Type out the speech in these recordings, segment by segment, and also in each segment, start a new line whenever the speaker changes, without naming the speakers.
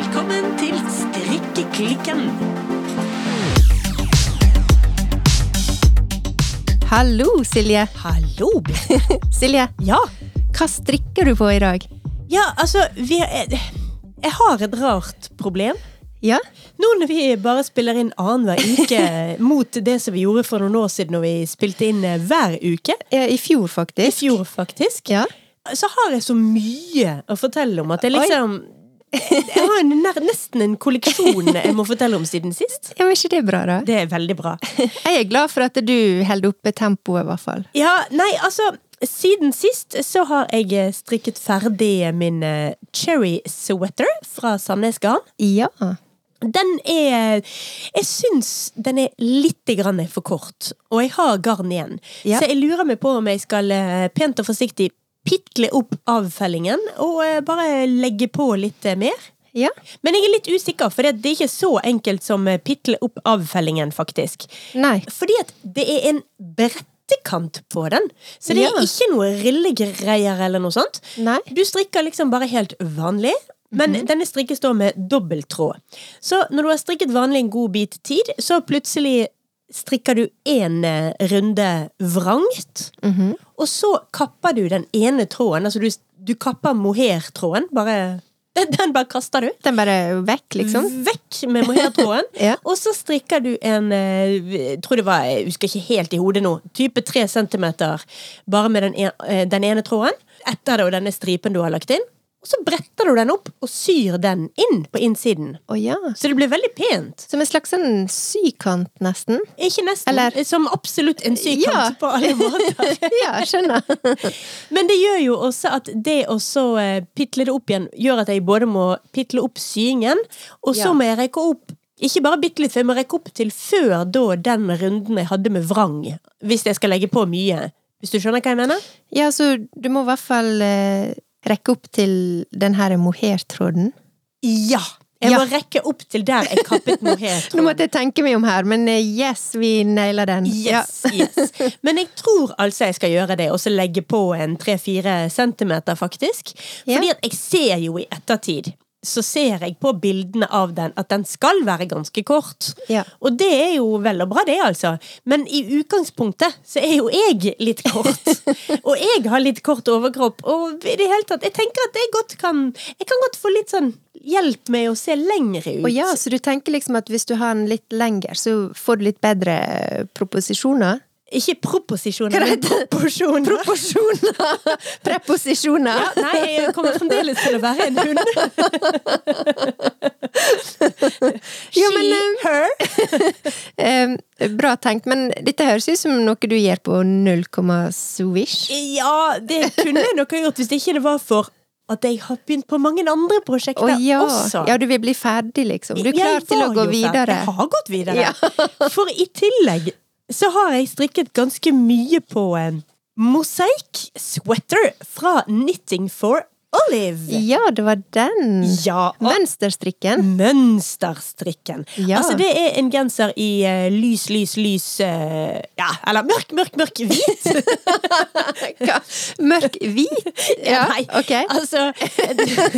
til Strikkeklikken.
Hallo, Silje.
Hallo.
Silje,
Ja,
hva strikker du på i dag?
ja altså vi er, Jeg har et rart problem.
Ja?
Nå når vi bare spiller inn annenhver uke mot det som vi gjorde for noen år siden når vi spilte inn eh, hver uke,
eh, I fjor,
i
faktisk.
fjor faktisk,
Ja.
så har jeg så mye å fortelle om at jeg liksom Jeg har en, nær- nesten en kolleksjon jeg må fortelle om siden sist.
ja, men ikke det bra, da?
Det er veldig bra.
Jeg er glad for at du holder oppe tempoet, i hvert fall.
Ja, nei, altså Siden sist så har jeg eh, strikket ferdig min eh, cherry sweater fra Sandnes Garn.
Ja.
Den er Jeg syns den er litt grann for kort, og jeg har garn igjen.
Ja.
Så jeg lurer meg på om jeg skal eh, pent og forsiktig pitle opp avfellingen og eh, bare legge på litt eh, mer.
Ja.
Men jeg er litt usikker, for det det er ikke så enkelt som eh, pitle opp avfellingen, faktisk.
Nei.
Fordi at det er en brettekant på den. Så det er
Ja.
ikke noe rillegreier eller noe sånt.
Nei.
Du strikker liksom bare helt vanlig. Men denne strikkes da med dobbelttråd. Så når du har strikket vanlig en god bit tid, så plutselig strikker du én runde vrangt.
Mhm.
Og så kapper du den ene tråden. Altså du, du kapper mohairtråden. Bare Den den bare kaster du.
Den bare vekk, liksom?
Vekk med mohairtråden.
Ja.
Og så strikker du en eh, jeg tror det var, jeg husker ikke helt i hodet nå, type tre centimeter bare med den, en, eh, den ene tråden. Etter det og denne stripen du har lagt inn. Og så bretter du den opp og syr den inn på innsiden.
Å ja.
Så det blir veldig pent.
Som en slags sånn sykant, nesten.
Ikke nesten,
Eller-
som absolutt en sykant
Ja.
på alle måter.
Ja, skjønner.
Men det gjør jo også at det å så eh, pitle det opp igjen, gjør at jeg både må pitle opp syingen, og så
Ja.
må jeg rekke opp ikke bare bitte litt, for jeg må rekke opp til før da den runden jeg hadde med vrang. Hvis jeg skal legge på mye. Hvis du skjønner hva jeg mener?
Ja, så du må i hvert fall eh, rekke opp til den her mohairtråden.
Ja! Jeg
Ja.
må rekke opp til der jeg kappet
Nå
mohair.
måtte jeg tenke meg om her, men eh, yes, vi naila den. Mm. Ja.
Yes, yes. Men jeg tror altså jeg skal gjøre det, og så legge på en 3-4 centimeter, faktisk.
Ja.
Fordi at jeg ser jo i ettertid, så ser jeg på bildene av den at den skal være ganske kort.
Ja.
Og det er jo vel og bra, det, altså. Men i utgangspunktet så er jo jeg litt kort. og jeg har litt kort overkropp. Og i det hele tatt, jeg tenker at jeg godt kan Jeg kan godt få litt sånn hjelp med å se lengre ut.
Og ja, så du tenker liksom at hvis du har den litt lenger, så får du litt bedre eh, proposisjoner?
Ikke proposisjoner, men proporsjoner.
Proporsjoner! Preposisjoner!
Ja, nei, jeg kommer fremdeles til å være en hund. She,
Ja, men, eh,
her.
Eh, bra tenkt, men dette høres ut som noe du gjør på null komma swish.
Ja, det kunne jeg nok ha gjort hvis det ikke var for at jeg har begynt på mange andre
Å
prosjekter
ja.
også.
ja, du vil bli ferdig, liksom. Du er klar
Jeg
til å
var jo
gå
ferdig.
videre.
Jeg har gått videre.
Ja.
For i tillegg så har jeg strikket ganske mye på en mosaikk sweater fra Knitting for Olive.
Ja, det var den.
Ja, og
Mønsterstrikken.
mønsterstrikken.
Ja.
Altså, det er en genser i eh, lys, lys, lys eh, Ja, eller mørk, mørk, mørk hvit.
Hva? Mørk-hvit? Ja,
Nei,
ok.
altså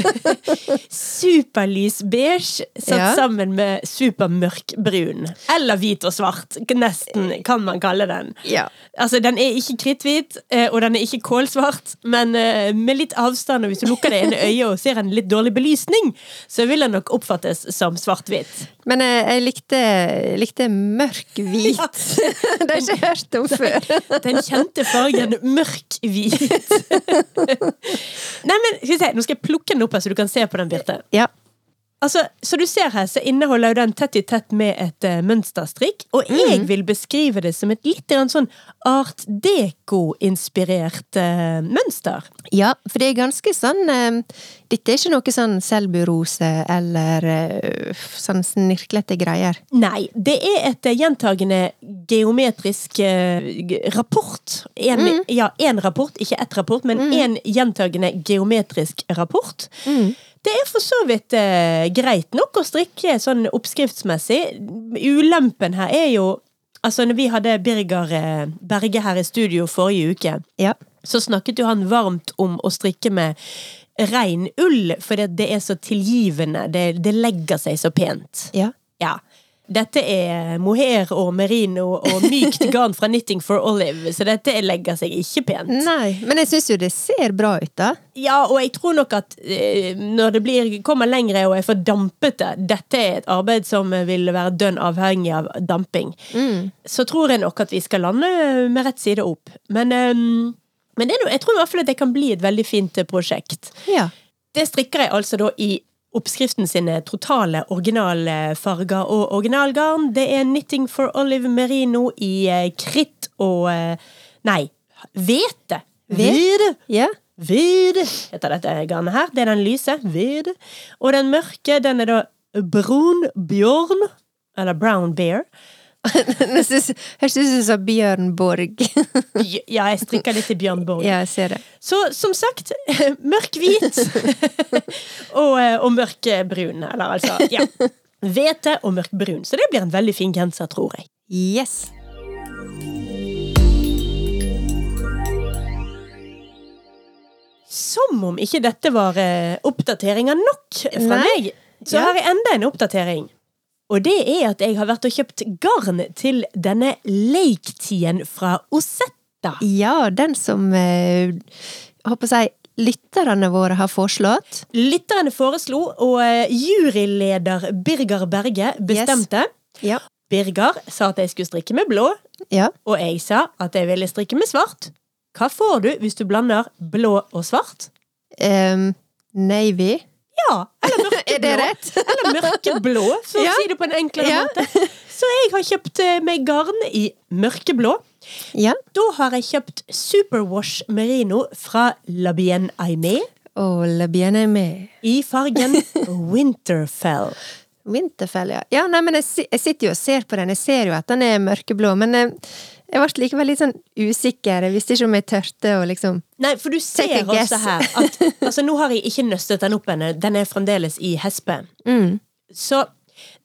Superlys beige satt
Ja.
sammen med supermørk brun. Eller hvit og svart. Nesten, kan man kalle den.
Ja.
Altså, Den er ikke kritthvit, eh, og den er ikke kålsvart, men eh, med litt avstand, og hvis du lukker det ene øyet og ser en litt dårlig belysning, så vil den nok oppfattes som svart-hvitt.
Men jeg, jeg likte, likte mørk-hvit.
Ja.
det har jeg ikke hørt om før.
Den kjente fargen mørk-hvit. Nei, men skal vi se, Nå skal jeg plukke den opp her, så du kan se på den, Birte.
Ja.
Altså, Som du ser her, så inneholder jo den tett i tett med et eh, mønsterstrikk. Og jeg vil beskrive det som et litt grann sånn art deco-inspirert eh, mønster.
ja, for det er ganske sånn eh, Dette er ikke noe sånn selburose eller eh, sånn snirklete greier.
Nei, det er et eh, gjentagende geometrisk eh, g- rapport. En, Ja, én rapport, ikke ett rapport, men én gjentagende geometrisk rapport. Det er for så vidt eh, greit nok å strikke sånn oppskriftsmessig. Ulempen her er jo Altså, når vi hadde Birger eh, Berge her i studio forrige uke,
Ja.
så snakket jo han varmt om å strikke med rein ull, for det, det er så tilgivende. Det, det legger seg så pent.
Ja.
Ja. Dette er mohair og merino og mykt garn fra Knitting for Olive, så dette legger seg ikke pent.
Nei, men jeg syns jo det ser bra ut, da.
Ja, og jeg tror nok at eh, når det blir, kommer lengre og jeg får dampet det Dette er et arbeid som vil være dønn avhengig av damping. Så tror jeg nok at vi skal lande med rett side opp. Men, eh, men det er noe, jeg tror i hvert fall at det kan bli et veldig fint eh, prosjekt.
Ja.
Det strikker jeg altså da i oppskriften sine totale originale farger og originalgarn. Det er Knitting for Olive Merino i eh, kritt og eh, Nei, hvete. Hvete.
Ja.
Hvid heter dette garnet her. Det er den lyse. Hvid. Og den mørke, den er da brun bjørn. Eller brown bear.
Nå syns- Høres ut som du sa Bjørn Borg.
Bj- Ja, jeg strikker litt til Bjørn Borg.
ja, jeg ser det.
Så som sagt, mørk hvit og, eh, og mørk brun. Eller altså, ja. Hvete og mørk brun. Så det blir en veldig fin genser, tror jeg.
Yes.
Som om ikke dette var eh, oppdateringer nok fra
Nei.
meg, så
Ja.
har jeg enda en oppdatering. Og det er at jeg har vært og kjøpt garn til denne leiktien fra Osetta.
Ja, den som eh, jeg håper jeg lytterne våre har foreslått.
Lytterne foreslo, og eh, juryleder Birger Berge bestemte.
Ja.
Birger sa at jeg skulle strikke med blå,
Ja.
og jeg sa at jeg ville strikke med svart. Hva får du hvis du blander blå og svart?
Em, navy.
Ja, eller mørkeblå.
Er det rett?
Eller mørkeblå, for å
Ja.
si det på en enklere
Ja.
måte. Så jeg har kjøpt eh, meg garn i mørkeblå.
Ja.
Da har jeg kjøpt Superwash Merino fra La Bienne Aimé
Og le bien aimé.
i fargen Winterfell.
Winterfell, ja. ja nei, men jeg, si- jeg sitter jo og ser på den. Jeg ser jo at den er mørkeblå, men eh, jeg ble likevel litt sånn usikker. Jeg visste ikke om jeg tørte å liksom
Nei, for du
Take a
ser
guess.
også her at altså, Nå har jeg ikke nøstet den opp ennå. Den er fremdeles i hespe.
Mm.
Så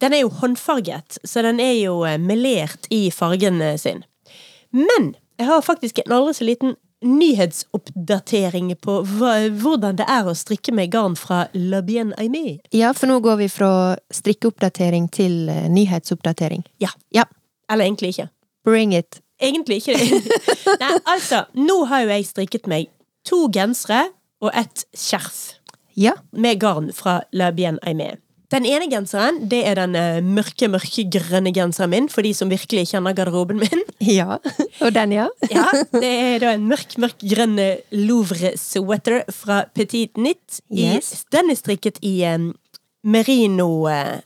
den er jo håndfarget, så den er jo eh, melert i fargen eh, sin. Men jeg har faktisk en aldri så liten nyhetsoppdatering på hva, hvordan det er å strikke med garn fra La Bien Aimé.
Ja, for nå går vi fra strikkeoppdatering til eh, nyhetsoppdatering.
Ja.
Ja.
Eller egentlig ikke.
Bring it.
Egentlig ikke. Nei, altså, nå har jo jeg strikket meg to gensere og et skjerf.
Ja.
med garn fra La Bien Aimé. Den ene genseren det er den eh, mørke, mørke grønne genseren min, for de som virkelig kjenner garderoben min.
Ja. Og den, ja.
Ja, Det er da en mørk, mørk grønn eh, Louvre-sweater fra Petit Knit. I,
Yes.
Den er strikket i eh, merino eh,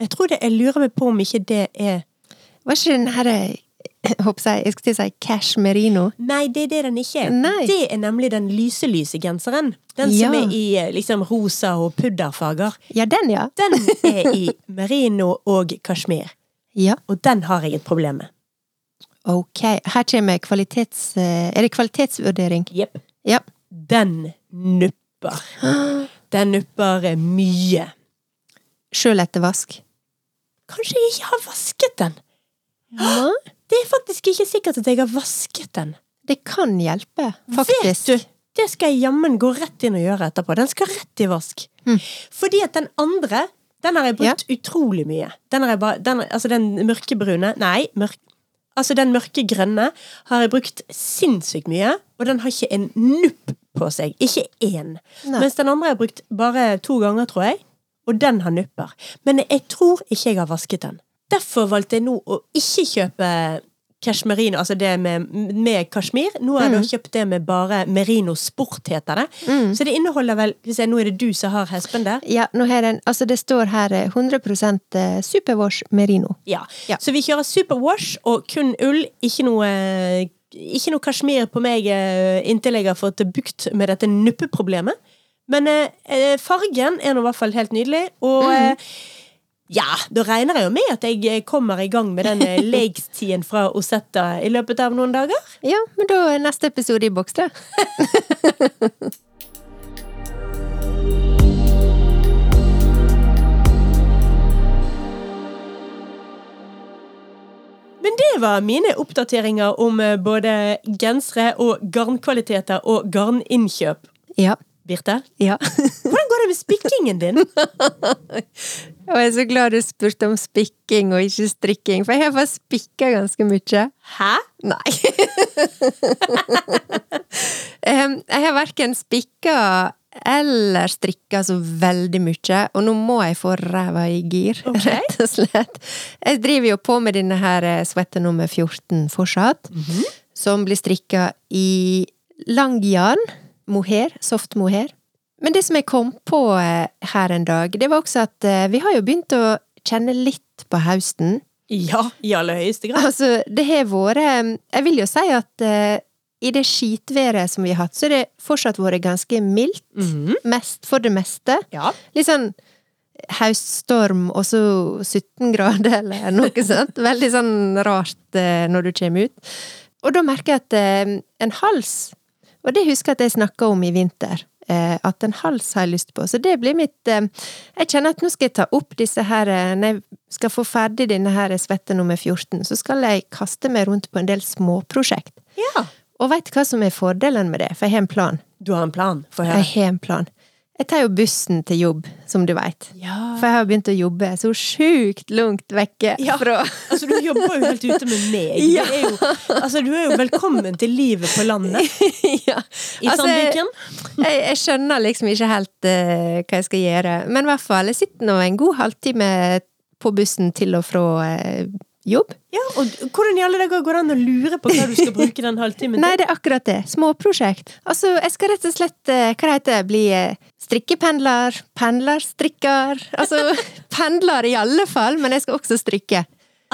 Jeg tror det, jeg lurer meg på om ikke det er
Var ikke den her eh, jeg håper jeg, jeg skulle til å si cash merino?
Nei, det er det den ikke er.
Nei.
Det er nemlig den lyse-lyse genseren. Den som
Ja.
er i eh, liksom rosa og pudderfarger.
Ja, den, ja.
Den er i merino og kasjmir.
Ja.
Og den har jeg et problem med.
Ok. Her kommer kvalitets... eh, Er det kvalitetsvurdering?
Jepp.
Ja.
Den nupper. Den nupper eh, mye.
Sjøl etter vask?
Kanskje jeg ikke har vasket den?
Ja.
Det er faktisk ikke sikkert at jeg har vasket den.
Det kan hjelpe, faktisk.
Vet du, det skal jeg jammen gå rett inn og gjøre etterpå. Den skal rett i vask.
Mm.
Fordi at den andre, den har jeg brukt utrolig mye. Den har jeg bare, den, altså den mørkebrune, nei, mørk, altså den mørke grønne har jeg brukt sinnssykt mye, og den har ikke en nupp på seg. Ikke én.
Nei.
Mens den andre har jeg brukt bare to ganger, tror jeg. Og den har nupper. Men jeg tror ikke jeg har vasket den. Derfor valgte jeg nå å ikke kjøpe cashmerino, altså det med, med kashmir. Nå har jeg da kjøpt det med bare merino sport, heter det. Så det inneholder vel hvis jeg, Nå er det du som har hespen der.
Ja, nå har jeg den, altså det står her eh, 100 superwash merino.
Ja.
Ja.
Så vi kjører superwash og kun ull. Ikke noe ikke noe kashmir på meg eh, inntil jeg har fått bukt med dette nuppeproblemet. Men eh, eh, fargen er nå i hvert fall helt nydelig, og eh, ja, da regner jeg jo med at jeg eh, kommer i gang med den eh, legstien fra Osetta i løpet av noen dager.
Ja, men da er neste episode i boks, da.
Men det var mine oppdateringer om eh, både gensere og garnkvaliteter og garninnkjøp.
Ja.
Birte?
Ja.
Hvordan går det med spikkingen din?
Og jeg er så glad du spurte om spikking og ikke strikking, for jeg har faktisk spikka ganske mye.
Hæ?
Nei. Em, Ehm, jeg har verken spikka eller strikka så veldig mye, og nå må jeg få ræva i gir,
Ok.
rett og slett. Jeg driver jo på med denne her eh, sweater nummer 14 fortsatt, som blir strikka i langjarn, mohair, soft mohair. Men det som jeg kom på eh, her en dag, det var også at eh, vi har jo begynt å kjenne litt på høsten.
Ja, i aller høyeste grad.
Altså, det har vært Jeg vil jo si at eh, i det skitværet som vi har hatt, så har det fortsatt vært ganske mildt.
Mhm.
Mest for det meste.
Ja.
Litt sånn høststorm og så 17 grader eller noe sånt. Veldig sånn rart eh, når du kommer ut. Og da merker jeg at eh, en hals Og det husker jeg at jeg snakka om i vinter. eh, At en hals har jeg lyst på. Så det blir mitt eh, Jeg kjenner at nå skal jeg ta opp disse her eh, Når jeg skal få ferdig denne her svette nummer 14, så skal jeg kaste meg rundt på en del småprosjekt.
ja.
Og veit du hva som er fordelen med det? For jeg har en plan.
Du har en plan, få høre.
Jeg har en plan. Jeg tar jo bussen til jobb, som du veit.
Ja.
For jeg har begynt å jobbe så sjukt langt vekke
Ja.
fra
Altså, du jobber jo helt ute med meg.
Ja.
Det er jo, altså, du er jo velkommen til livet på landet
ja.
i
Altså,
Sandviken.
jeg, jeg skjønner liksom ikke helt eh, hva jeg skal gjøre. Men i hvert fall, jeg sitter nå en god halvtime på bussen til og fra eh, jobb.
Ja, og d- hvordan i alle dager går det an å lure på hva du skal bruke den halvtimen
Nei,
til?
det er akkurat det. Småprosjekt. Altså, jeg skal rett og slett eh, Hva det heter det? Bli eh, strikkependler. Pendlerstrikker. Altså, pendler i alle fall, men jeg skal også strikke.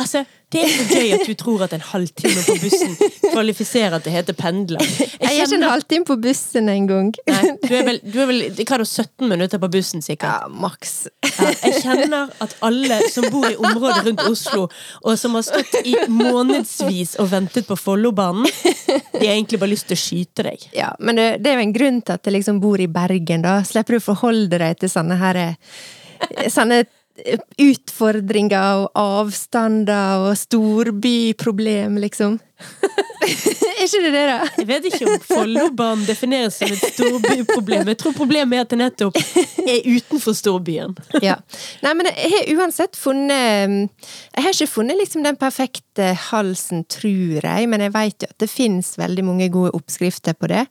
Altså, det er så gøy at du tror at en halvtime på bussen kvalifiserer at det heter pendler.
Jeg er ikke en halvtime på bussen engang.
Nei, du er vel, du er vel hva er det, 17 minutter på bussen, sikkert.
Ja, maks.
Ja, jeg kjenner at alle som bor i området rundt Oslo, og som har stått i månedsvis og ventet på Follobanen, de har egentlig bare lyst til å skyte deg.
Ja, men det, det er jo en grunn til at jeg liksom bor i Bergen, da. Slipper du å forholde deg til sånne her eh, Sånne utfordringer og avstander og storbyproblem, liksom. er ikke det det, da?
Jeg vet ikke om Follobanen defineres som et storbyproblem. Jeg tror problemet er at det nettopp er utenfor storbyen.
ja. Nei, men jeg har uansett funnet mm, Jeg har ikke funnet liksom den perfekte halsen, tror jeg, men jeg vet jo at det fins veldig mange gode oppskrifter på det.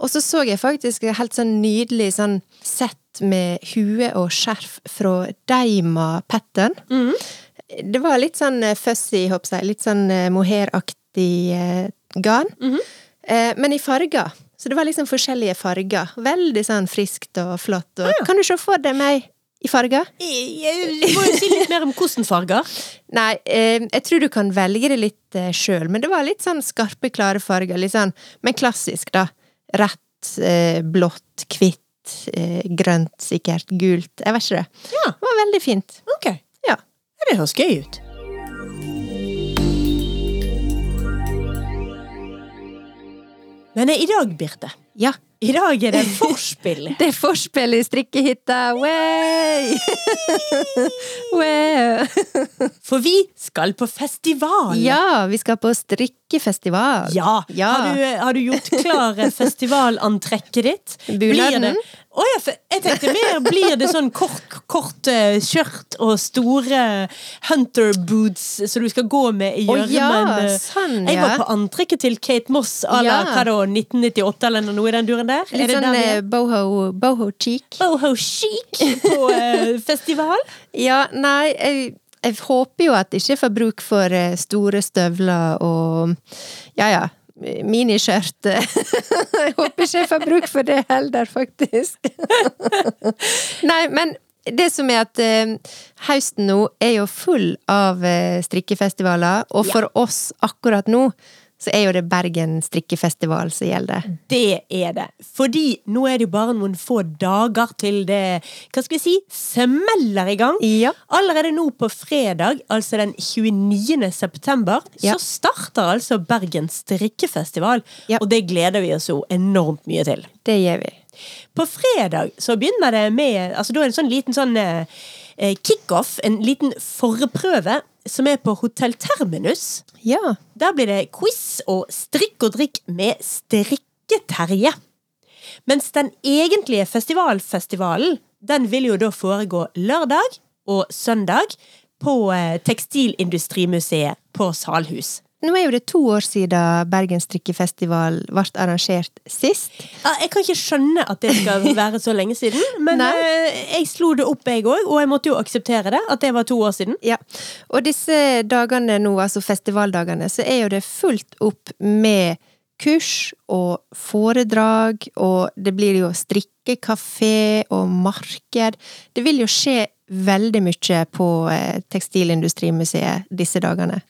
Og så så jeg faktisk et helt sånn nydelig sånn sett med hue og skjerf fra Deima Pattern. Det var litt sånn eh, fussy, håper jeg, litt sånn eh, mohairaktig eh, garn. Eh, Men i farger. Så det var liksom forskjellige farger. Veldig sånn friskt og flott. Og Kan du se for deg meg i farger?
Du må jo si litt mer om hvordan farger.
Nei, eh, jeg tror du kan velge det litt eh, sjøl, men det var litt sånn skarpe, klare farger. Litt sånn, men klassisk, da. Rødt, eh, blått, hvitt, eh, grønt sikkert, gult. Jeg vet ikke det.
Ja.
Det var veldig fint.
Ok.
Ja.
Ja, Det høres gøy ut. Men i dag, Birte
Ja.
I dag er det forspill.
Det er forspill i strikkehytta! Way! Way!
For vi skal på festival!
Ja, vi skal på strikkefestival.
Ja.
Ja.
Har, du, har du gjort klar festivalantrekket ditt?
Bunaden?
Blir det- Å ja, for jeg tenkte mer blir det sånn kort, kort eh, skjørt og store hunter boots som du skal gå med i
Å
gjørmen?
ja,
eh.
sånn,
Jeg var
ja.
på antrekket til Kate Moss à la
Ja.
hva da, 1998 eller noe i den duren der?
Litt
er det
sånn
der vi
eh,
er?
boho, boho cheek.
Boho chic på eh, festival?
Ja, nei, jeg, jeg håper jo at jeg ikke får bruk for eh, store støvler og ja ja, miniskjørt. jeg håper ikke jeg får bruk for det heller, faktisk. nei, men det som er at eh, høsten nå er jo full av eh, strikkefestivaler, og for oss akkurat nå så er jo det Bergen strikkefestival som gjelder.
Det er det. Fordi nå er det jo bare noen få dager til det hva skal vi si, smeller i gang.
Ja.
Allerede nå på fredag, altså den 29. september,
Ja.
så starter altså Bergen strikkefestival.
Ja.
Og det gleder vi oss jo enormt mye til.
Det gjør vi.
På fredag så begynner det med altså Da er det en sånn liten sånn eh, eh, kickoff, en liten forprøve, som er på Hotell Terminus.
Ja.
Der blir det quiz og strikk og drikk med Strikketerje. Mens den egentlige festivalfestivalen, den vil jo da foregå lørdag og søndag på eh, Tekstilindustrimuseet på Salhus.
Nå er jo det to år siden Bergens strikkefestival ble arrangert sist.
Ja, Jeg kan ikke skjønne at det skal være så lenge siden, men
Nei.
eh, jeg slo det opp, jeg òg, og jeg måtte jo akseptere det, at det var to år siden.
Ja, og disse dagene nå, altså festivaldagene, så er jo det fullt opp med kurs og foredrag, og det blir jo strikkekafé og marked. Det vil jo skje veldig mye på eh, Tekstilindustrimuseet disse dagene.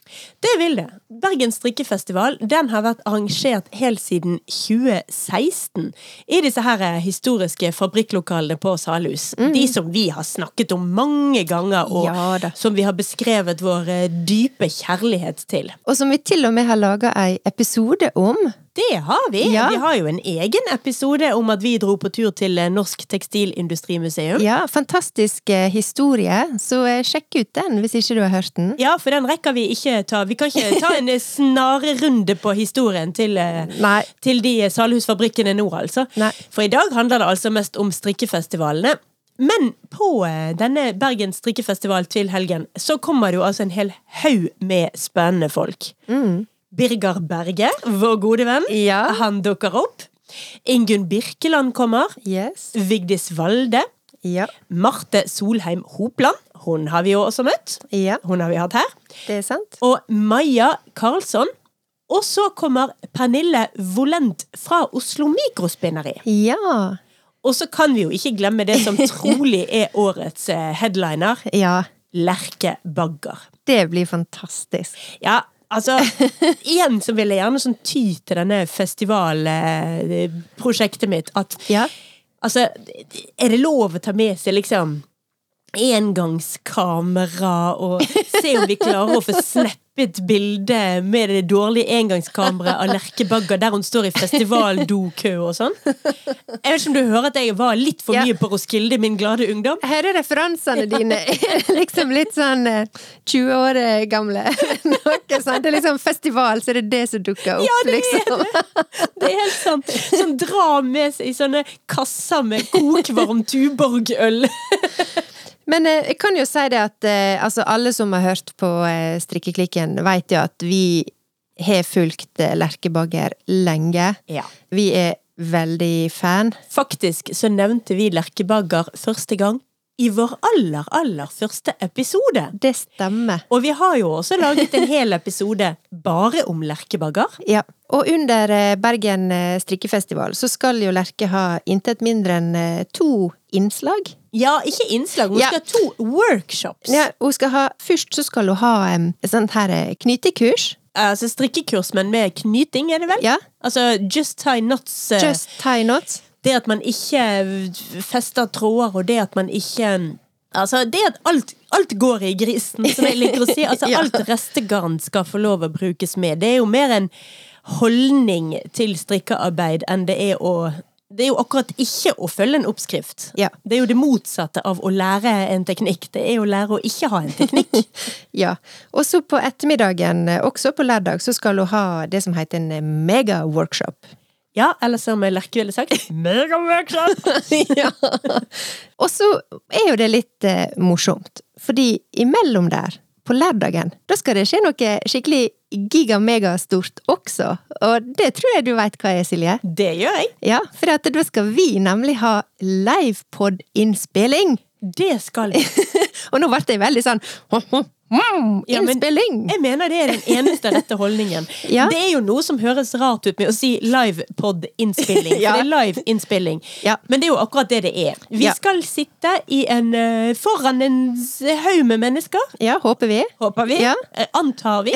Det vil det. Bergens strikkefestival den har vært arrangert helt siden 2016 i disse her eh, historiske fabrikklokalene på Salhus. De som vi har snakket om mange ganger, og
Mm. Ja da.
som vi har beskrevet vår eh, dype kjærlighet til.
Og som vi til og med har laga ei episode om.
Det har vi!
Ja.
Vi har jo en egen episode om at vi dro på tur til eh, Norsk Tekstilindustrimuseum.
Ja, fantastisk eh, historie, så eh, sjekk ut den hvis ikke du har hørt den.
Ja, for den rekker vi ikke ta. Vi kan ikke ta en eh, snarrunde på historien til, eh,
Nei.
til de eh, salhusfabrikkene nå, altså.
Nei.
For i dag handler det altså mest om strikkefestivalene. Men på eh, denne Bergen strikkefestival til helgen, så kommer det jo altså en hel haug med spennende folk. Birger Berge, vår gode venn,
Mm. Ja.
han dukker opp. Ingunn Birkeland kommer.
Yes.
Vigdis Valde.
Ja.
Marte Solheim Hopland. Hun har vi jo også møtt.
ja,
Hun har vi hatt her
det er sant.
og Maja Karlsson. Og så kommer Pernille Volent fra Oslo Mikrospinneri.
Ja.
Og så kan vi jo ikke glemme det som trolig er årets eh, headliner,
Ja.
Lerke Bagger.
Det blir fantastisk.
Ja, altså Igjen så vil jeg gjerne sånn ty til denne festivalprosjektet mitt at
Ja.
Altså, er det lov å ta med seg liksom engangskamera og se om vi klarer å få snappet bilde med det dårlige engangskameraet av Lerke Bagger der hun står i festivaldokø og sånn? Jeg vet ikke om du hører at jeg var litt for
Ja.
mye på Roskilde, min glade ungdom?
Jeg hører referansene dine er liksom litt sånn eh, 20 år eh, gamle. Noe sånt. Det er liksom festival, så det er det som dukker opp,
Ja, det er
liksom.
Det er helt sant. Som drar med seg sånne kasser med kokvarm Tuborg-øl.
Men eh, jeg kan jo si det at eh, altså alle som har hørt på eh, Strikkeklikken, vet jo at vi har fulgt eh, Lerke Bagger lenge.
Ja.
Vi er veldig fan.
Faktisk så nevnte vi Lerke Bagger første gang i vår aller, aller første episode.
Det stemmer.
Og vi har jo også laget en hel episode bare om lerkebagger.
Ja. Og under eh, Bergen eh, strikkefestival så skal jo Lerke ha intet mindre enn eh, to innslag.
Ja, ikke innslag, hun
Ja.
skal ha to workshops.
Ja, hun skal ha, først så skal hun ha em, et sånt her eh, knytekurs.
Altså strikkekurs, men med knyting, er det vel?
Ja.
Altså just tie knots. eh,
Just tie knots.
Det at man ikke eh, fester tråder, og det at man ikke eh, Altså, det at alt, alt går i grisen, som jeg liker å si. Altså,
Ja.
alt restegarn skal få lov å brukes med. Det er jo mer en holdning til strikkearbeid enn det er å Det er jo akkurat ikke å følge en oppskrift.
Ja.
Det er jo det motsatte av å lære en teknikk. Det er jo å lære å ikke ha en teknikk.
Ja. Og så på ettermiddagen, eh, også på lørdag, så skal hun ha det som heter en eh, mega-workshop.
Ja, eller som Lerke ville sagt Megaworkshop!
ja. Og så er jo det litt eh, morsomt, fordi imellom der, på lørdagen, da skal det skje noe skikkelig giga-megastort også. Og det tror jeg du veit hva er, Silje.
Det gjør jeg.
Ja, for at da skal vi nemlig ha livepod-innspilling.
Det skal vi.
Og nå ble jeg veldig sånn
Ja, men-
Innspilling!
Jeg mener det er den eneste rette holdningen.
Mm. Ja.
Det er jo noe som høres rart ut med å si livepod-innspilling.
Ja.
For det er live-innspilling.
Ja.
Men det er jo akkurat det det er. Vi
Ja.
skal sitte i en, eh, foran en s- haug med mennesker.
Ja, håper vi.
Håper vi.
Ja.
Eh, Antar vi.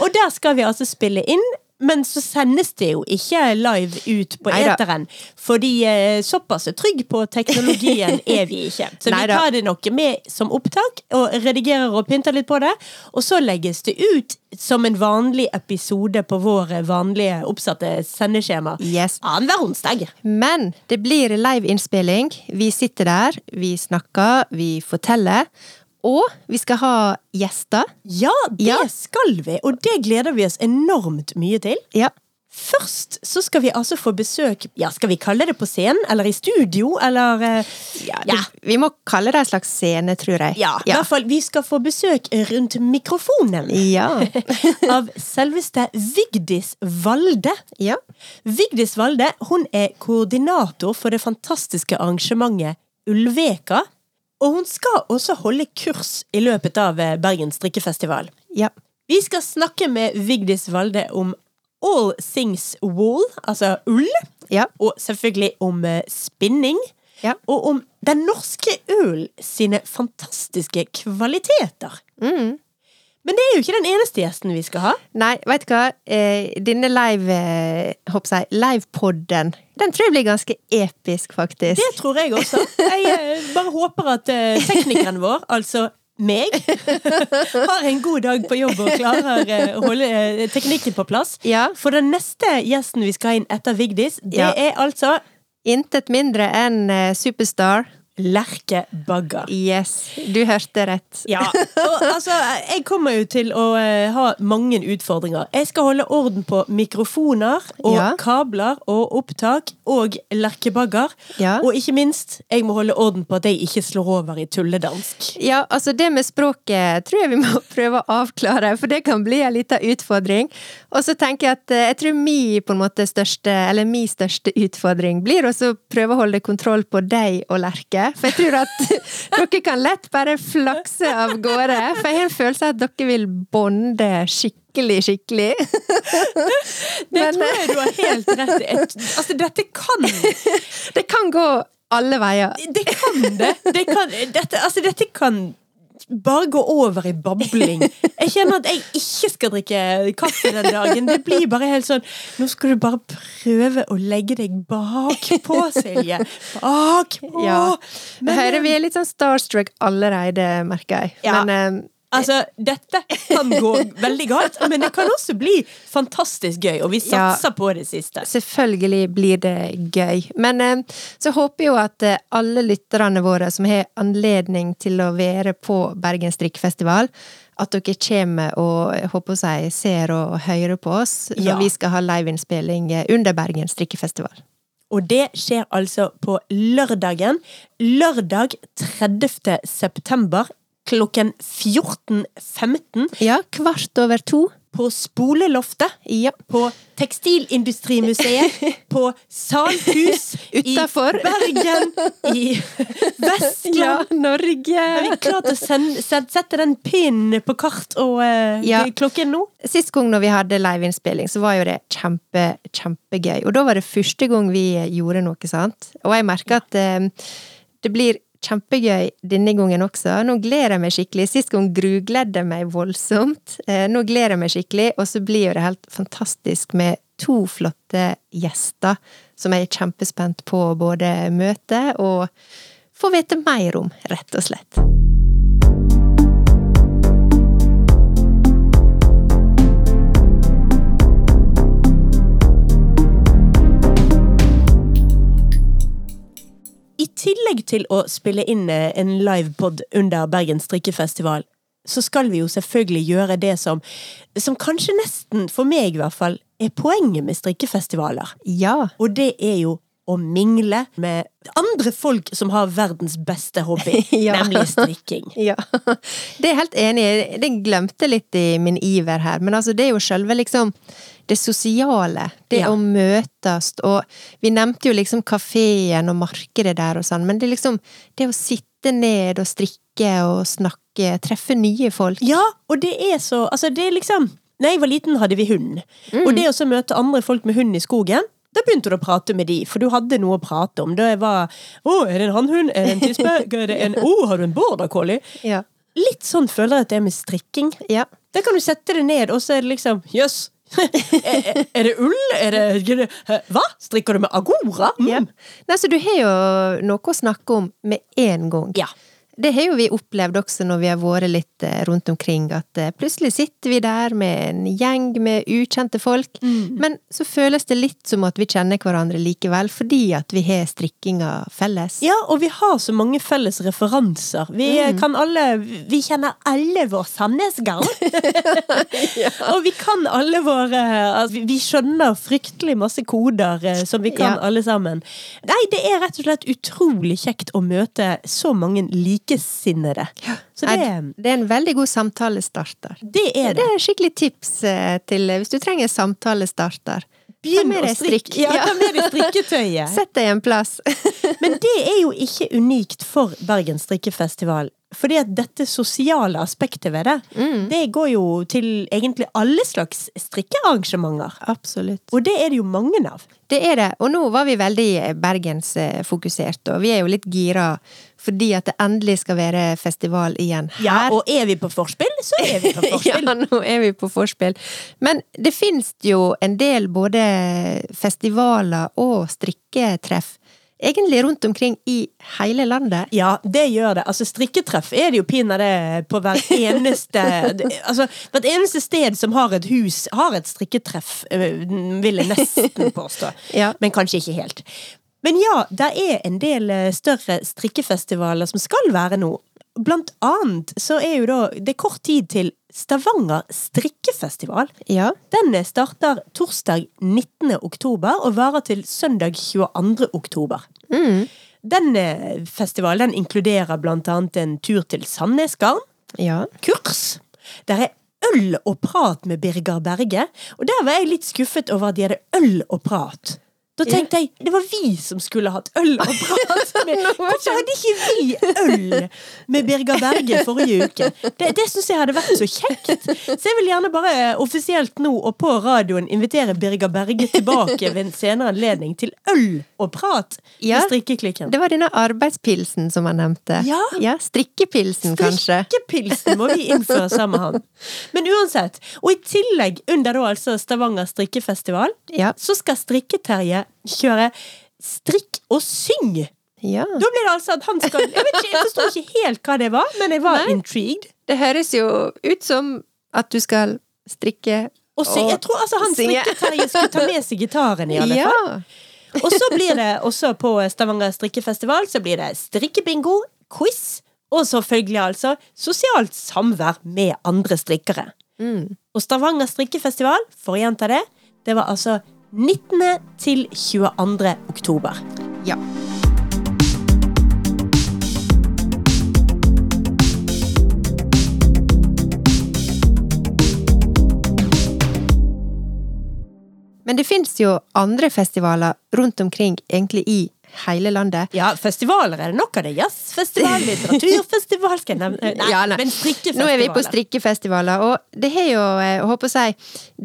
og der skal vi altså spille inn. Men så sendes det jo ikke live ut på
Neida.
eteren. Fordi eh, såpass trygg på teknologien er vi ikke. Så vi
Neida.
tar det noe med som opptak, og redigerer og pynter litt på det. Og så legges det ut som en vanlig episode på vår vanlige oppsatte sendeskjema.
Yes.
Annenhver onsdag.
Men det blir liveinnspilling. Vi sitter der, vi snakker, vi forteller. Og vi skal ha gjester.
Ja, det
Ja.
skal vi, og det gleder vi oss enormt mye til.
Ja.
Først så skal vi altså få besøk ja, Skal vi kalle det på scenen, eller i studio, eller eh,
Ja, det, Vi må kalle det en slags scene, tror jeg.
ja, i
ja.
hvert fall Vi skal få besøk rundt mikrofonen
Ja.
av selveste Vigdis Valde.
ja.
Vigdis Valde hun er koordinator for det fantastiske arrangementet Ulveka. Og hun skal også holde kurs i løpet av eh, Bergens strikkefestival.
ja.
Vi skal snakke med Vigdis Valde om All Things Wool, altså ull,
Ja.
og selvfølgelig om eh, spinning.
Ja.
Og om den norske ull sine fantastiske kvaliteter.
Mm.
Men det er jo ikke den eneste gjesten vi skal ha.
Nei, veit du hva? Eh, Denne live, eh, håper jeg, livepodden, den tror jeg blir ganske episk, faktisk.
Det tror jeg også. Jeg eh, bare håper at eh, teknikeren vår, altså meg, har en god dag på jobb og klarer eh, å holde eh, teknikken på plass.
Ja.
For den neste gjesten vi skal ha inn etter Vigdis, det
Ja.
er altså
Intet mindre enn eh, Superstar.
Lerke Bagger.
Yes, du hørte rett.
Ja, og altså, Jeg kommer jo til å eh, ha mange utfordringer. Jeg skal holde orden på mikrofoner og
Ja.
kabler og opptak og lerkebagger.
Ja.
Og ikke minst, jeg må holde orden på at jeg ikke slår over i tulledansk.
Ja, altså det med språket tror jeg vi må prøve å avklare, for det kan bli en liten utfordring. Og så tenker jeg at eh, jeg tror mi på en måte største, eller mi største utfordring blir også å prøve å holde kontroll på deg og Lerke. For jeg tror at dere kan lett bare flakse av gårde, for jeg har en følelse av at dere vil bonde skikkelig, skikkelig.
Det
Men, eh,
tror jeg du har helt rett i. Et- Altså, dette kan
Det kan gå alle veier.
Det kan det! det kan, dette, altså, dette kan bare gå over i babling. Jeg kjenner at jeg ikke skal drikke kaffe den dagen. Det blir bare helt sånn Nå skal du bare prøve å legge deg bakpå, Silje. Bakpå!
Ja.
Men, eh,
jeg hører vi er litt sånn starstruck allerede, merker jeg.
Ja.
Men, eh,
Altså, dette kan gå veldig galt, men det kan også bli fantastisk gøy, og vi
Ja.
satser på det siste.
Selvfølgelig blir det gøy. Men eh, så håper jeg jo at eh, alle lytterne våre som har anledning til å være på Bergen strikkfestival, at dere kommer og jeg håper jeg ser og hører på oss når
Ja.
vi skal ha liveinnspilling eh, under Bergen strikkefestival.
Og det skjer altså på lørdagen. Lørdag 30. september klokken 14.15
Ja, kvart over to.
på Spoleloftet.
Ja.
På Tekstilindustrimuseet, på Salhus
Utenfor.
i Bergen, i
ja,
Vestland. Har vi
Norge!
klart å sende, sette, sette den pinnen på kart og eh,
Ja.
klokken nå?
Sist gang når vi hadde liveinnspilling, så var jo det kjempe, kjempegøy. Og da var det første gang vi eh, gjorde noe, sant? Og jeg merker at eh, det blir kjempegøy denne gangen også. Nå gleder jeg meg skikkelig. Sist gang grugledde jeg meg voldsomt. Eh, nå gleder jeg meg skikkelig, og så blir jo det helt fantastisk med to flotte gjester som jeg er kjempespent på å både møte og få vite mer om, rett og slett.
I tillegg til å spille inn eh, en livepod under Bergens strikkefestival, så skal vi jo selvfølgelig gjøre det som, som kanskje nesten, for meg i hvert fall, er poenget med strikkefestivaler.
Ja.
Og det er jo å mingle med andre folk som har verdens beste hobby,
Ja.
nemlig strikking.
Ja, det er jeg helt enig i. Det glemte jeg litt i min iver her. Men altså, det er jo selve liksom det sosiale. Det
Ja.
å møtes. Og vi nevnte jo liksom kafeen og markedet der og sånn, men det er liksom det å sitte ned og strikke og snakke, treffe nye folk.
Ja, og det er så Altså, det er liksom Da jeg var liten, hadde vi hund. Og det å så møte andre folk med hund i skogen da begynte du å prate med de, for du hadde noe å prate om. Da jeg var 'Å, er det en hannhund? Er det en tispe? Er det en Å, har du en border collie?'
Ja.
Litt sånn føler jeg at det er med strikking.
Ja.
Da kan du sette det ned, og så er det liksom Jøss! er, er- er det ull? Er det, er det Hva? Strikker du med agora? Mm.
Ja. Nei, så du har jo noe å snakke om med en gang.
Ja.
det har jo vi opplevd også når vi har vært litt eh, rundt omkring, at eh, plutselig sitter vi der med en gjeng med ukjente folk,
Mm.
men så føles det litt som at vi kjenner hverandre likevel, fordi at vi har strikkinga felles.
Ja, og vi har så mange felles referanser. Vi eh,
Mm.
kan alle Vi kjenner alle vår Sandnesgarn. Og vi kan alle våre altså, vi- Vi skjønner fryktelig masse koder eh, som vi kan
Ja.
alle sammen. Nei, det er rett og slett utrolig kjekt å møte så mange likesinnede. Så
Nei,
det,
det er en veldig god samtalestarter.
det er
Det
det.
er et skikkelig tips eh, til eh, hvis du trenger samtalestarter. Ta med deg strikk.
Ja,
Ja.
ta med deg strikketøyet.
Sett deg en plass.
Men det er jo ikke unikt for Bergen strikkefestival. Fordi at dette sosiale aspektet ved det, det går jo til egentlig alle slags strikkearrangementer.
Absolutt.
Og det er det jo mange av.
Det er det. Og nå var vi veldig eh, bergensfokusert, og vi er jo litt gira fordi at det endelig skal være festival igjen her.
Ja, og er vi på forspill, så er vi på forspill.
Ja, nå er vi på forspill. Men det finnes jo en del både festivaler og strikketreff, egentlig rundt omkring i hele landet.
Ja, det gjør det. Altså, strikketreff er det jo pinadø på hver eneste Altså, hvert eneste sted som har et hus, har et strikketreff, øh, vil jeg nesten påstå.
Ja.
Men kanskje ikke helt. Men ja, det er en del eh, større strikkefestivaler som skal være nå. Blant annet så er jo da Det er kort tid til Stavanger strikkefestival.
Ja.
Den starter torsdag 19. oktober og varer til søndag 22. oktober. Den eh, festivalen den inkluderer blant annet en tur til Sandnesgarden,
Ja.
kurs. Der er øl og prat med Birger Berge, og der var jeg litt skuffet over at de hadde øl og prat. Da tenkte jeg, det var vi som skulle hatt øl og prat med
Nå var
Hvorfor hadde ikke vi øl med Birger Berge forrige uke? Det, det syns jeg hadde vært så kjekt. Så jeg vil gjerne bare eh, offisielt nå og på radioen invitere Birger Berge tilbake ved en senere anledning til øl og prat
Ja.
med strikkeklikken.
Det var denne arbeidspilsen som han nevnte.
Ja.
Strikkepilsen, kanskje.
Strikkepilsen må vi innføre sammen med han. Men uansett, og i tillegg under da altså Stavanger strikkefestival,
Ja.
så skal Strikketerje kjøre Strikk og syng.
ja.
Da blir det altså at han skal Jeg vet ikke, jeg forstår ikke helt hva det var, men jeg var intrigued.
Det høres jo ut som at du skal strikke
Og syng, jeg tror altså han
synge.
Strikketerje skulle ta med seg gitaren, i alle fall.
Ja.
Og så blir det også på Stavanger strikkefestival så blir det strikkebingo, quiz og selvfølgelig altså sosialt samvær med andre strikkere.
Mm.
Og Stavanger strikkefestival, for å gjenta det, det var altså 19. til 22. oktober.
ja. Men det fins jo andre festivaler rundt omkring, egentlig i hele landet.
Ja, festivaler er det nok av det. Jazzfestival, litteraturfestival skal jeg nevne. Nei,
Ja, nei.
men strikkefestivaler.
Nå er vi på strikkefestivaler, og det har jo, eh, håper jeg,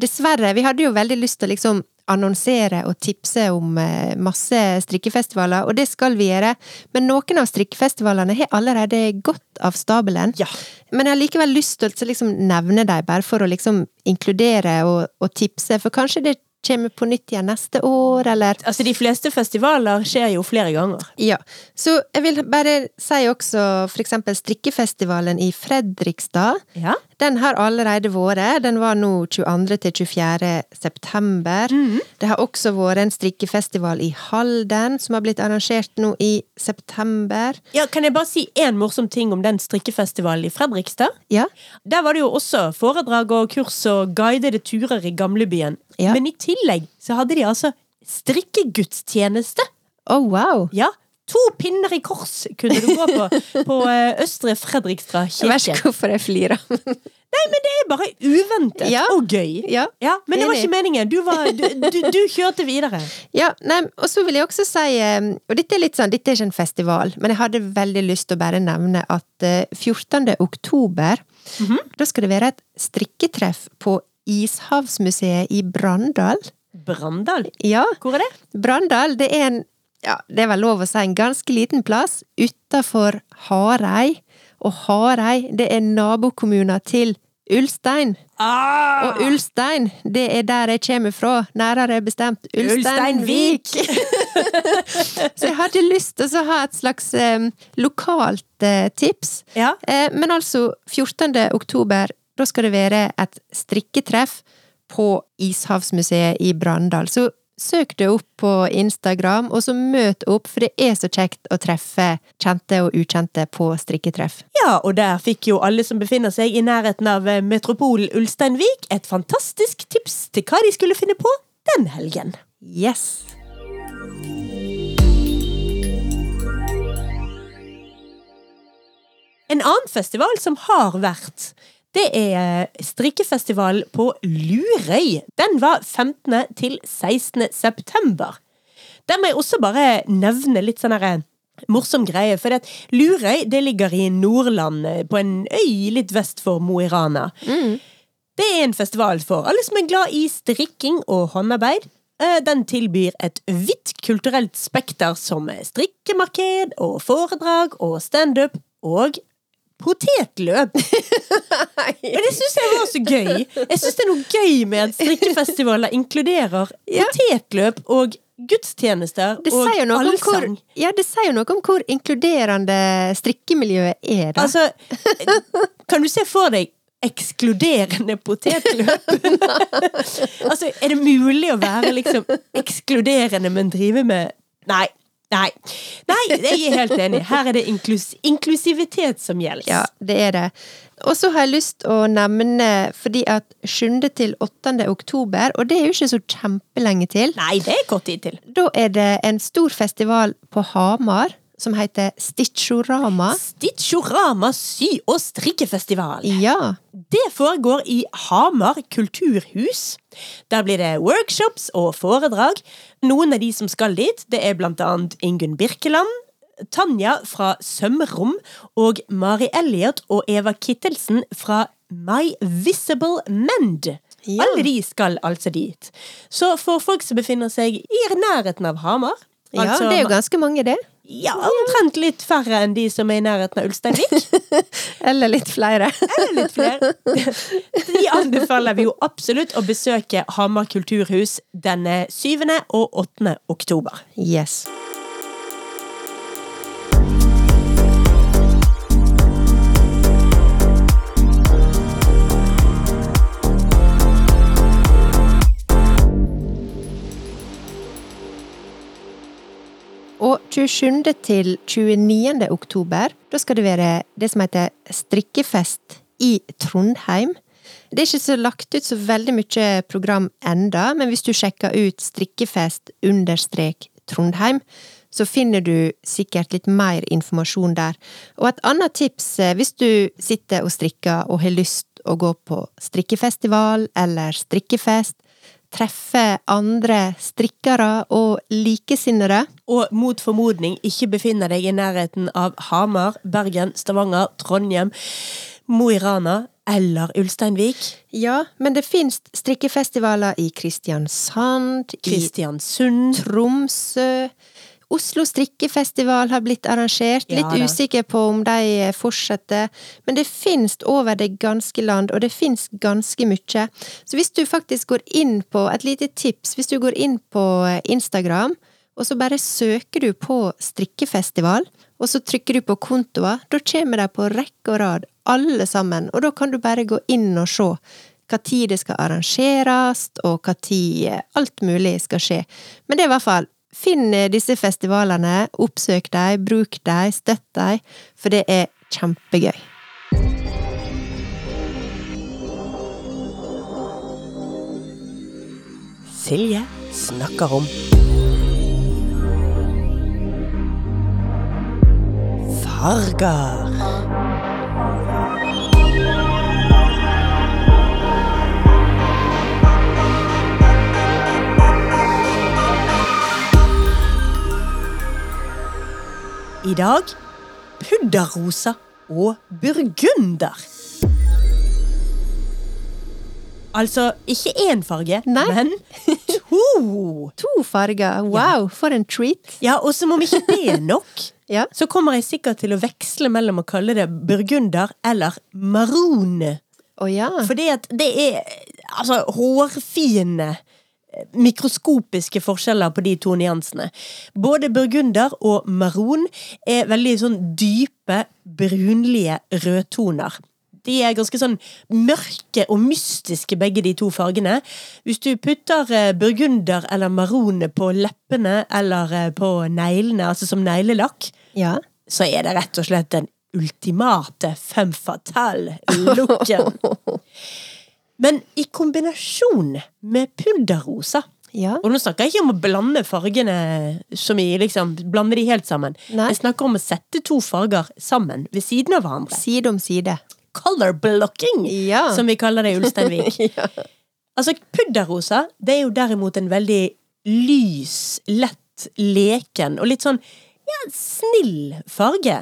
dessverre Vi hadde jo veldig lyst til å liksom annonsere og tipse om eh, masse strikkefestivaler, og det skal vi gjøre, men noen av strikkefestivalene har allerede gått av stabelen.
Ja.
Men jeg har likevel lyst til å liksom nevne dem, bare for å liksom inkludere og, og tipse, for kanskje det kommer på nytt igjen neste år, eller
Altså, de fleste festivaler skjer jo flere ganger.
ja, så jeg vil bare si også for eksempel strikkefestivalen i Fredrikstad.
Ja.
Den har allerede vært. Den var nå 22. til 24. september. Det har også vært en strikkefestival i Halden, som har blitt arrangert nå i september.
Ja, kan jeg bare si én morsom ting om den strikkefestivalen i Fredrikstad?
Ja.
Der var det jo også foredrag og kurs og guidede turer i gamlebyen.
Ja.
Men i tillegg så hadde de altså strikkegudstjeneste.
Å, wow!
Ja, to pinner i kors kunne du gå på på eh, Østre Fredrikstad
Jeg vet
kirke.
ikke hvorfor jeg flirer.
Nei, men det er bare uventet
Ja.
og gøy.
ja.
Ja, Men det var
Enig.
ikke meningen. Du, var, du, du, du kjørte videre.
Ja, nei, og så vil jeg også si, eh, og dette er litt sånn, dette er ikke en festival, men jeg hadde veldig lyst til å bare nevne at eh, 14. oktober, da skal det være et strikketreff på Ishavsmuseet i Brandal.
Brandal.
Ja,
Hvor er det?
Brandal, det er en, ja, det er vel lov å si, en ganske liten plass utenfor Harei. Og Harei, det er nabokommuner til Ulstein.
Ah!
Og Ulstein, det er der jeg kommer fra. Nærere bestemt Ulsteinvik. så jeg hadde lyst til å ha et slags eh, lokalt eh, tips.
Ja.
Eh, men altså, 14. oktober, da skal det være et strikketreff på Ishavsmuseet i Brandal. Så søk det opp på Instagram, og så møt opp, for det er så kjekt å treffe kjente og ukjente på strikketreff.
ja, og der fikk jo alle som befinner seg i nærheten av eh, metropolen Ulsteinvik, et fantastisk tips til hva de skulle finne på den helgen.
Yes!
En annen festival som har vært, det er strikkefestivalen på Lurøy. Den var 15. til 16. september. Der må jeg også bare nevne litt sånn herre Morsom greie, for at Lurøy det ligger i Nordland, eh, på en øy litt vest for Mo i Rana. Det er en festival for alle som er glad i strikking og håndarbeid. Eh, Den tilbyr et vidt kulturelt spekter som strikkemarked og foredrag og standup og potetløp. Men det syns jeg var så gøy. Jeg syns det er noe gøy med at strikkefestivaler inkluderer potetløp og gudstjenester
Det
og
sier, jo noe om hvor,
allsang.
ja, det sier jo noe om hvor inkluderende strikkemiljøet er, da.
Altså, kan du se for deg ekskluderende potetløp? altså, er det mulig å være liksom ekskluderende, men drive med Nei. Nei, Nei jeg er helt enig. Her er det inklus inklusivitet som gjelder.
Ja, det er det. Og så har jeg lyst å nevne fordi at 7. til 8. oktober, og det er jo ikke så kjempelenge til,
Nei, det er kort tid til.
da er det en stor festival på Hamar som heter Stitchorama.
Stitchorama sy- og strikkefestival.
Ja.
Det foregår i Hamar kulturhus. Der blir det workshops og foredrag. Noen av de som skal dit, det er blant annet Ingunn Birkeland, Tanja fra Sømrom og Mari Elliot og Eva Kittelsen fra My Visible Mend.
Ja.
Alle de skal altså dit. Så for folk som befinner seg i nærheten av Hamar altså
ja, det er jo ganske mange, det.
ja, omtrent litt færre enn de som er i nærheten av Ulsteinvik.
Eller litt flere.
Eller litt flere. De anbefaler vi jo absolutt å besøke Hamar kulturhus denne 7. og 8. oktober.
Yes. Og 27. til 29. oktober, da skal det være det som heter strikkefest i Trondheim. Det er ikke så lagt ut så veldig mye program enda, men hvis du sjekker ut strikkefest understrek Trondheim, så finner du sikkert litt mer informasjon der. Og et annet tips, eh, hvis du sitter og strikker og har lyst å gå på strikkefestival eller strikkefest, treffe andre strikkere og likesinnede,
Og mot formodning ikke befinner deg i nærheten av Hamar, Bergen, Stavanger, Trondheim, Mo i Rana eller Ulsteinvik.
Ja, men det finnes strikkefestivaler i Kristiansand, i
Kristiansund.
Tromsø. Oslo strikkefestival har blitt arrangert.
Ja da.
Litt usikker på om de eh, fortsetter. Men det finnes over det ganske land, og det finnes ganske mye. Så hvis du faktisk går inn på et lite tips, hvis du går inn på eh, Instagram, og så bare søker du på strikkefestival, og så trykker du på kontoer, da kommer de på rekke og rad, alle sammen, og da kan du bare gå inn og se hva tid det skal arrangeres, og hva tid eh, alt mulig skal skje. Men det er i hvert fall Finn eh, disse festivalene, oppsøk dem, bruk dem, støtt dem, for det er kjempegøy.
Silje snakker om farger. I dag pudderrosa og burgunder. Altså ikke én farge,
Nei.
men to.
To farger, wow, for en treat!
Ja, og som om ikke det er nok,
Ja.
så kommer jeg sikkert til å veksle mellom å kalle det burgunder eller maroon.
Å ja.
Fordi at det er altså, hårfine eh, mikroskopiske forskjeller på de to nyansene. Både burgunder og maron er veldig sånn dype, brunlige rødtoner. De er ganske sånn mørke og mystiske, begge de to fargene. Hvis du putter eh, burgunder eller maron på leppene eller eh, på neglene, altså som neglelakk,
ja.
så er det rett og slett den ultimate femme fatale-looken. Men i kombinasjon med pudderrosa
Ja.
Og nå snakker jeg ikke om å blande fargene som i liksom, blande de helt sammen.
Nei.
Jeg snakker om å sette to farger sammen ved siden av hverandre.
Side om side.
Color blocking,
Ja.
som vi kaller det i Ulsteinvik. Altså, pudderrosa det er jo derimot en veldig lys, lett, leken og litt sånn ja, snill farge.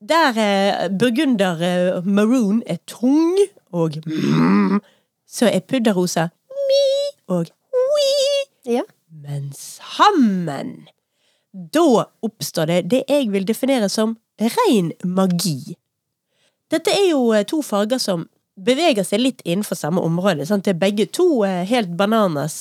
Der eh, burgunder eh, maroon er tung og mm, så er pudderrosa mi og oui.
Ja.
Men sammen, da oppstår det det jeg vil definere som ren magi. Dette er jo eh, to farger som beveger seg litt innenfor samme område. Sant? Det er begge to eh, helt bananas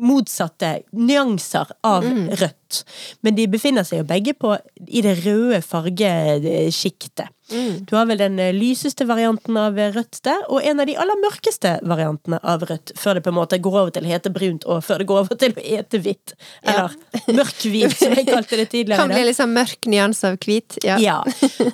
motsatte nyanser av
Mm.
rødt. Men de befinner seg jo begge på, i det røde fargesjiktet.
Mm.
Du har vel den eh, lyseste varianten av eh, rødt der, og en av de aller mørkeste variantene av rødt, før det på en måte går over til å hete brunt, og før det går over til å hete hvitt.
Ja.
Eller mørkhvit, som jeg kalte det tidligere.
Kan
i
bli
dag.
litt sånn mørk nyanse av hvit. Ja.
Ja.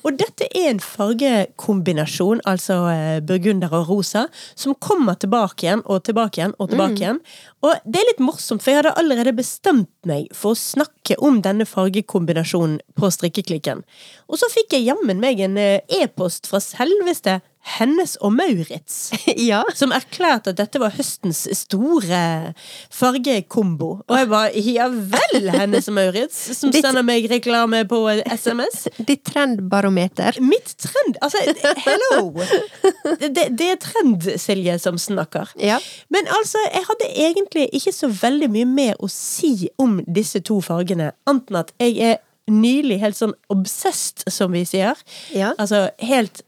Og dette er en fargekombinasjon, altså eh, burgunder og rosa, som kommer tilbake igjen og tilbake igjen og tilbake igjen. Og det er litt morsomt, for jeg hadde allerede bestemt meg for å snakke om denne fargekombinasjonen på strikkeklikken. Og så fikk jeg jammen meg en eh, e-post fra selveste Hennes og Maurits
ja.
som erklærte at dette var høstens store fargekombo. Og jeg bare ja vel, Hennes og Maurits, som
Ditt-
sender meg reklame på eh, SMS.
Ditt trendbarometer.
Mitt trend Altså, hello! Det, det, det er trend, Silje, som snakker.
Ja.
Men altså, jeg hadde egentlig ikke så veldig mye mer å si om disse to fargene, annet enn at jeg er nylig helt sånn obsessed, som vi sier.
Ja.
Altså helt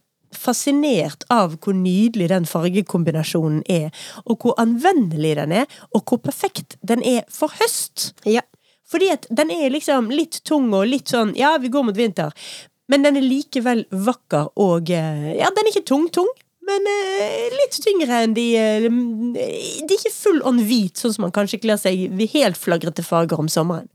fascinert av hvor nydelig den fargekombinasjonen er, og hvor anvendelig den er, og hvor perfekt den er for høst.
Ja.
Fordi at den er liksom litt tung og litt sånn Ja, vi går mot vinter. Men den er likevel vakker og eh, Ja, den er ikke tung-tung, men eh, litt tyngre enn de eh, mm, De er ikke full on hvit, sånn som man kanskje kler seg i helt flagrete farger om sommeren.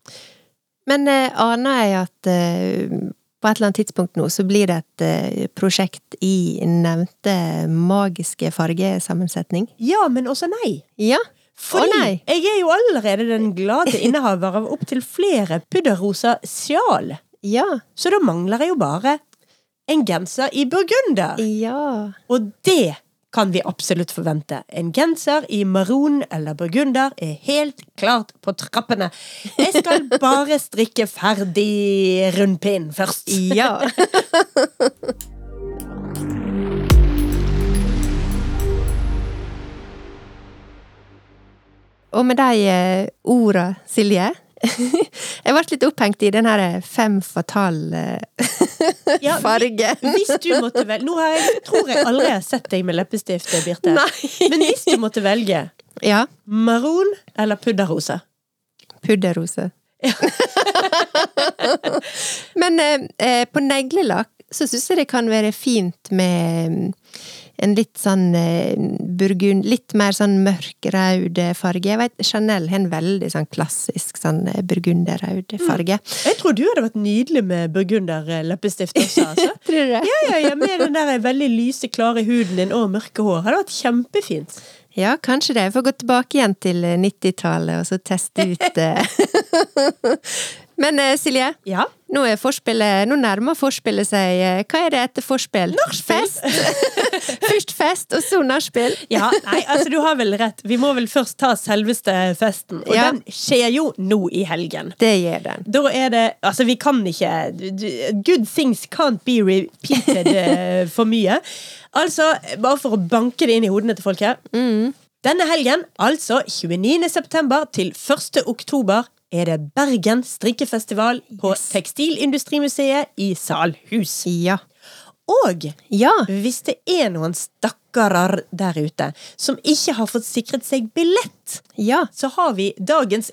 Men eh, aner jeg at eh, på et eller annet tidspunkt nå så blir det et eh, prosjekt i nevnte magiske fargesammensetning?
Ja, men også nei.
Ja.
Fordi
Å, nei.
jeg er jo allerede den glade innehaver av opptil flere pudderrosa sjal.
Ja.
Så da mangler jeg jo bare en genser i burgunder.
Ja.
Og det kan vi absolutt forvente. En genser i maroon eller burgunder er helt klart på trappene. Jeg skal bare strikke ferdig rundpinn først.
Ja. Og med de eh, orda, Silje Jeg ble litt opphengt i den her eh, fem eh, fatale
Ja, vi-
farge.
Hvis du måtte velge Nå har jeg, tror jeg aldri jeg har sett deg med leppestift, Birte.
Nei.
Men hvis du måtte velge
Ja.
maroon eller pudderrosa
Pudderrose. Men eh, eh, på neglelakk så syns jeg det kan være fint med mm, en litt sånn eh, burgund Litt mer sånn mørkrød farge. Jeg vet, Chanel har en veldig sånn klassisk sånn eh, burgunderrød farge.
Jeg tror du hadde vært nydelig med burgunder eh, leppestift også. Altså.
Tror du det?
Ja, ja, ja, Med den der veldig lyse, klare huden din og mørke hår. Hadde vært kjempefint.
Ja, kanskje det. Jeg får gå tilbake igjen til eh, 90-tallet og så teste ut eh. Men eh, Silje,
Ja.
nå, er forspillet, nå nærmer forspillet seg eh, Hva er det etter forspill?
Nachspiel.
Fest. Først fest, og så nachspiel.
Ja, nei, altså du har vel rett. Vi må vel først ta selveste festen. Og
Ja.
den skjer jo nå i helgen.
Det gjør den.
Da er det Altså, vi kan ikke Good things can't be repeated eh, for mye. Altså, bare for å banke det inn i hodene til folk her. Denne helgen, altså 29. september til 1. oktober, er det Bergen strikkefestival på Tekstilindustrimuseet i Salhus.
Ja.
Og
Ja.
hvis det er noen stakkarer der ute som ikke har fått sikret seg billett,
ja.
så har vi dagens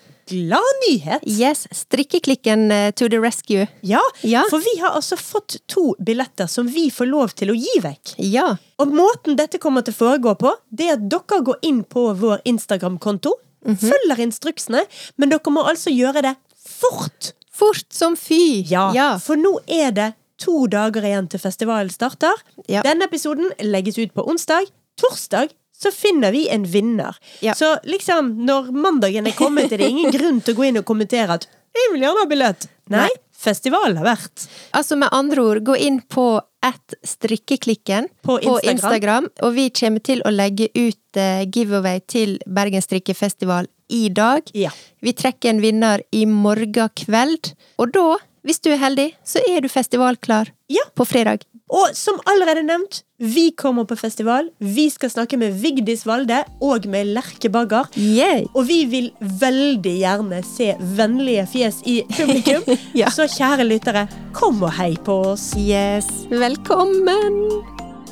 gladnyhet.
Yes, strikkeklikken eh, to the rescue.
Ja,
Ja.
for vi har altså fått to billetter som vi får lov til å gi vekk.
Ja.
Og måten dette kommer til å foregå på, det er at dere går inn på vår Instagram-konto, følger instruksene, men dere må altså gjøre det fort.
Fort som fy!
Ja,
ja.
For nå er det to dager igjen til festivalen starter.
Ja.
Denne episoden legges ut på onsdag. Torsdag så finner vi en vinner.
Ja.
Så liksom, når mandagen er kommet, er det ingen grunn til å gå inn og kommentere at 'jeg vil gjerne ha billett'. Nei,
Nei.
festivalen har vært.
Altså med andre ord, gå inn på at strikkeklikken
På Instagram.
og vi kommer til å legge ut eh, giveaway til Bergen strikkefestival i dag.
Ja.
Vi trekker en vinner i morgen kveld, og da, hvis du er heldig, så er du festivalklar
Ja.
på fredag.
Og som allerede nevnt, vi kommer på festival. Vi skal snakke med Vigdis Valde og med Lerke Bagger.
Yay!
Og vi vil veldig gjerne se vennlige fjes i publikum.
Ja.
Så kjære lyttere, kom og hei på oss.
Yes! Velkommen!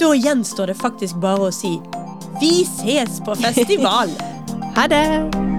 Da gjenstår det faktisk bare å si vi ses på festival!
Ha det!